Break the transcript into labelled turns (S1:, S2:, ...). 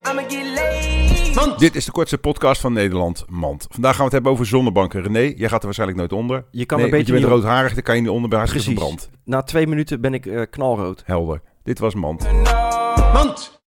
S1: I'ma get laid.
S2: Dit is de kortste podcast van Nederland, Mand. Vandaag gaan we het hebben over zonnebanken. René, jij gaat er waarschijnlijk nooit onder.
S3: Je kan
S2: nee,
S3: een beetje
S2: want je
S3: niet-
S2: bent roodharig, dan kan je niet onder bij hartstikke
S3: Precies.
S2: verbrand.
S3: Na twee minuten ben ik eh, knalrood.
S2: Helder. Dit was Mand.
S1: No.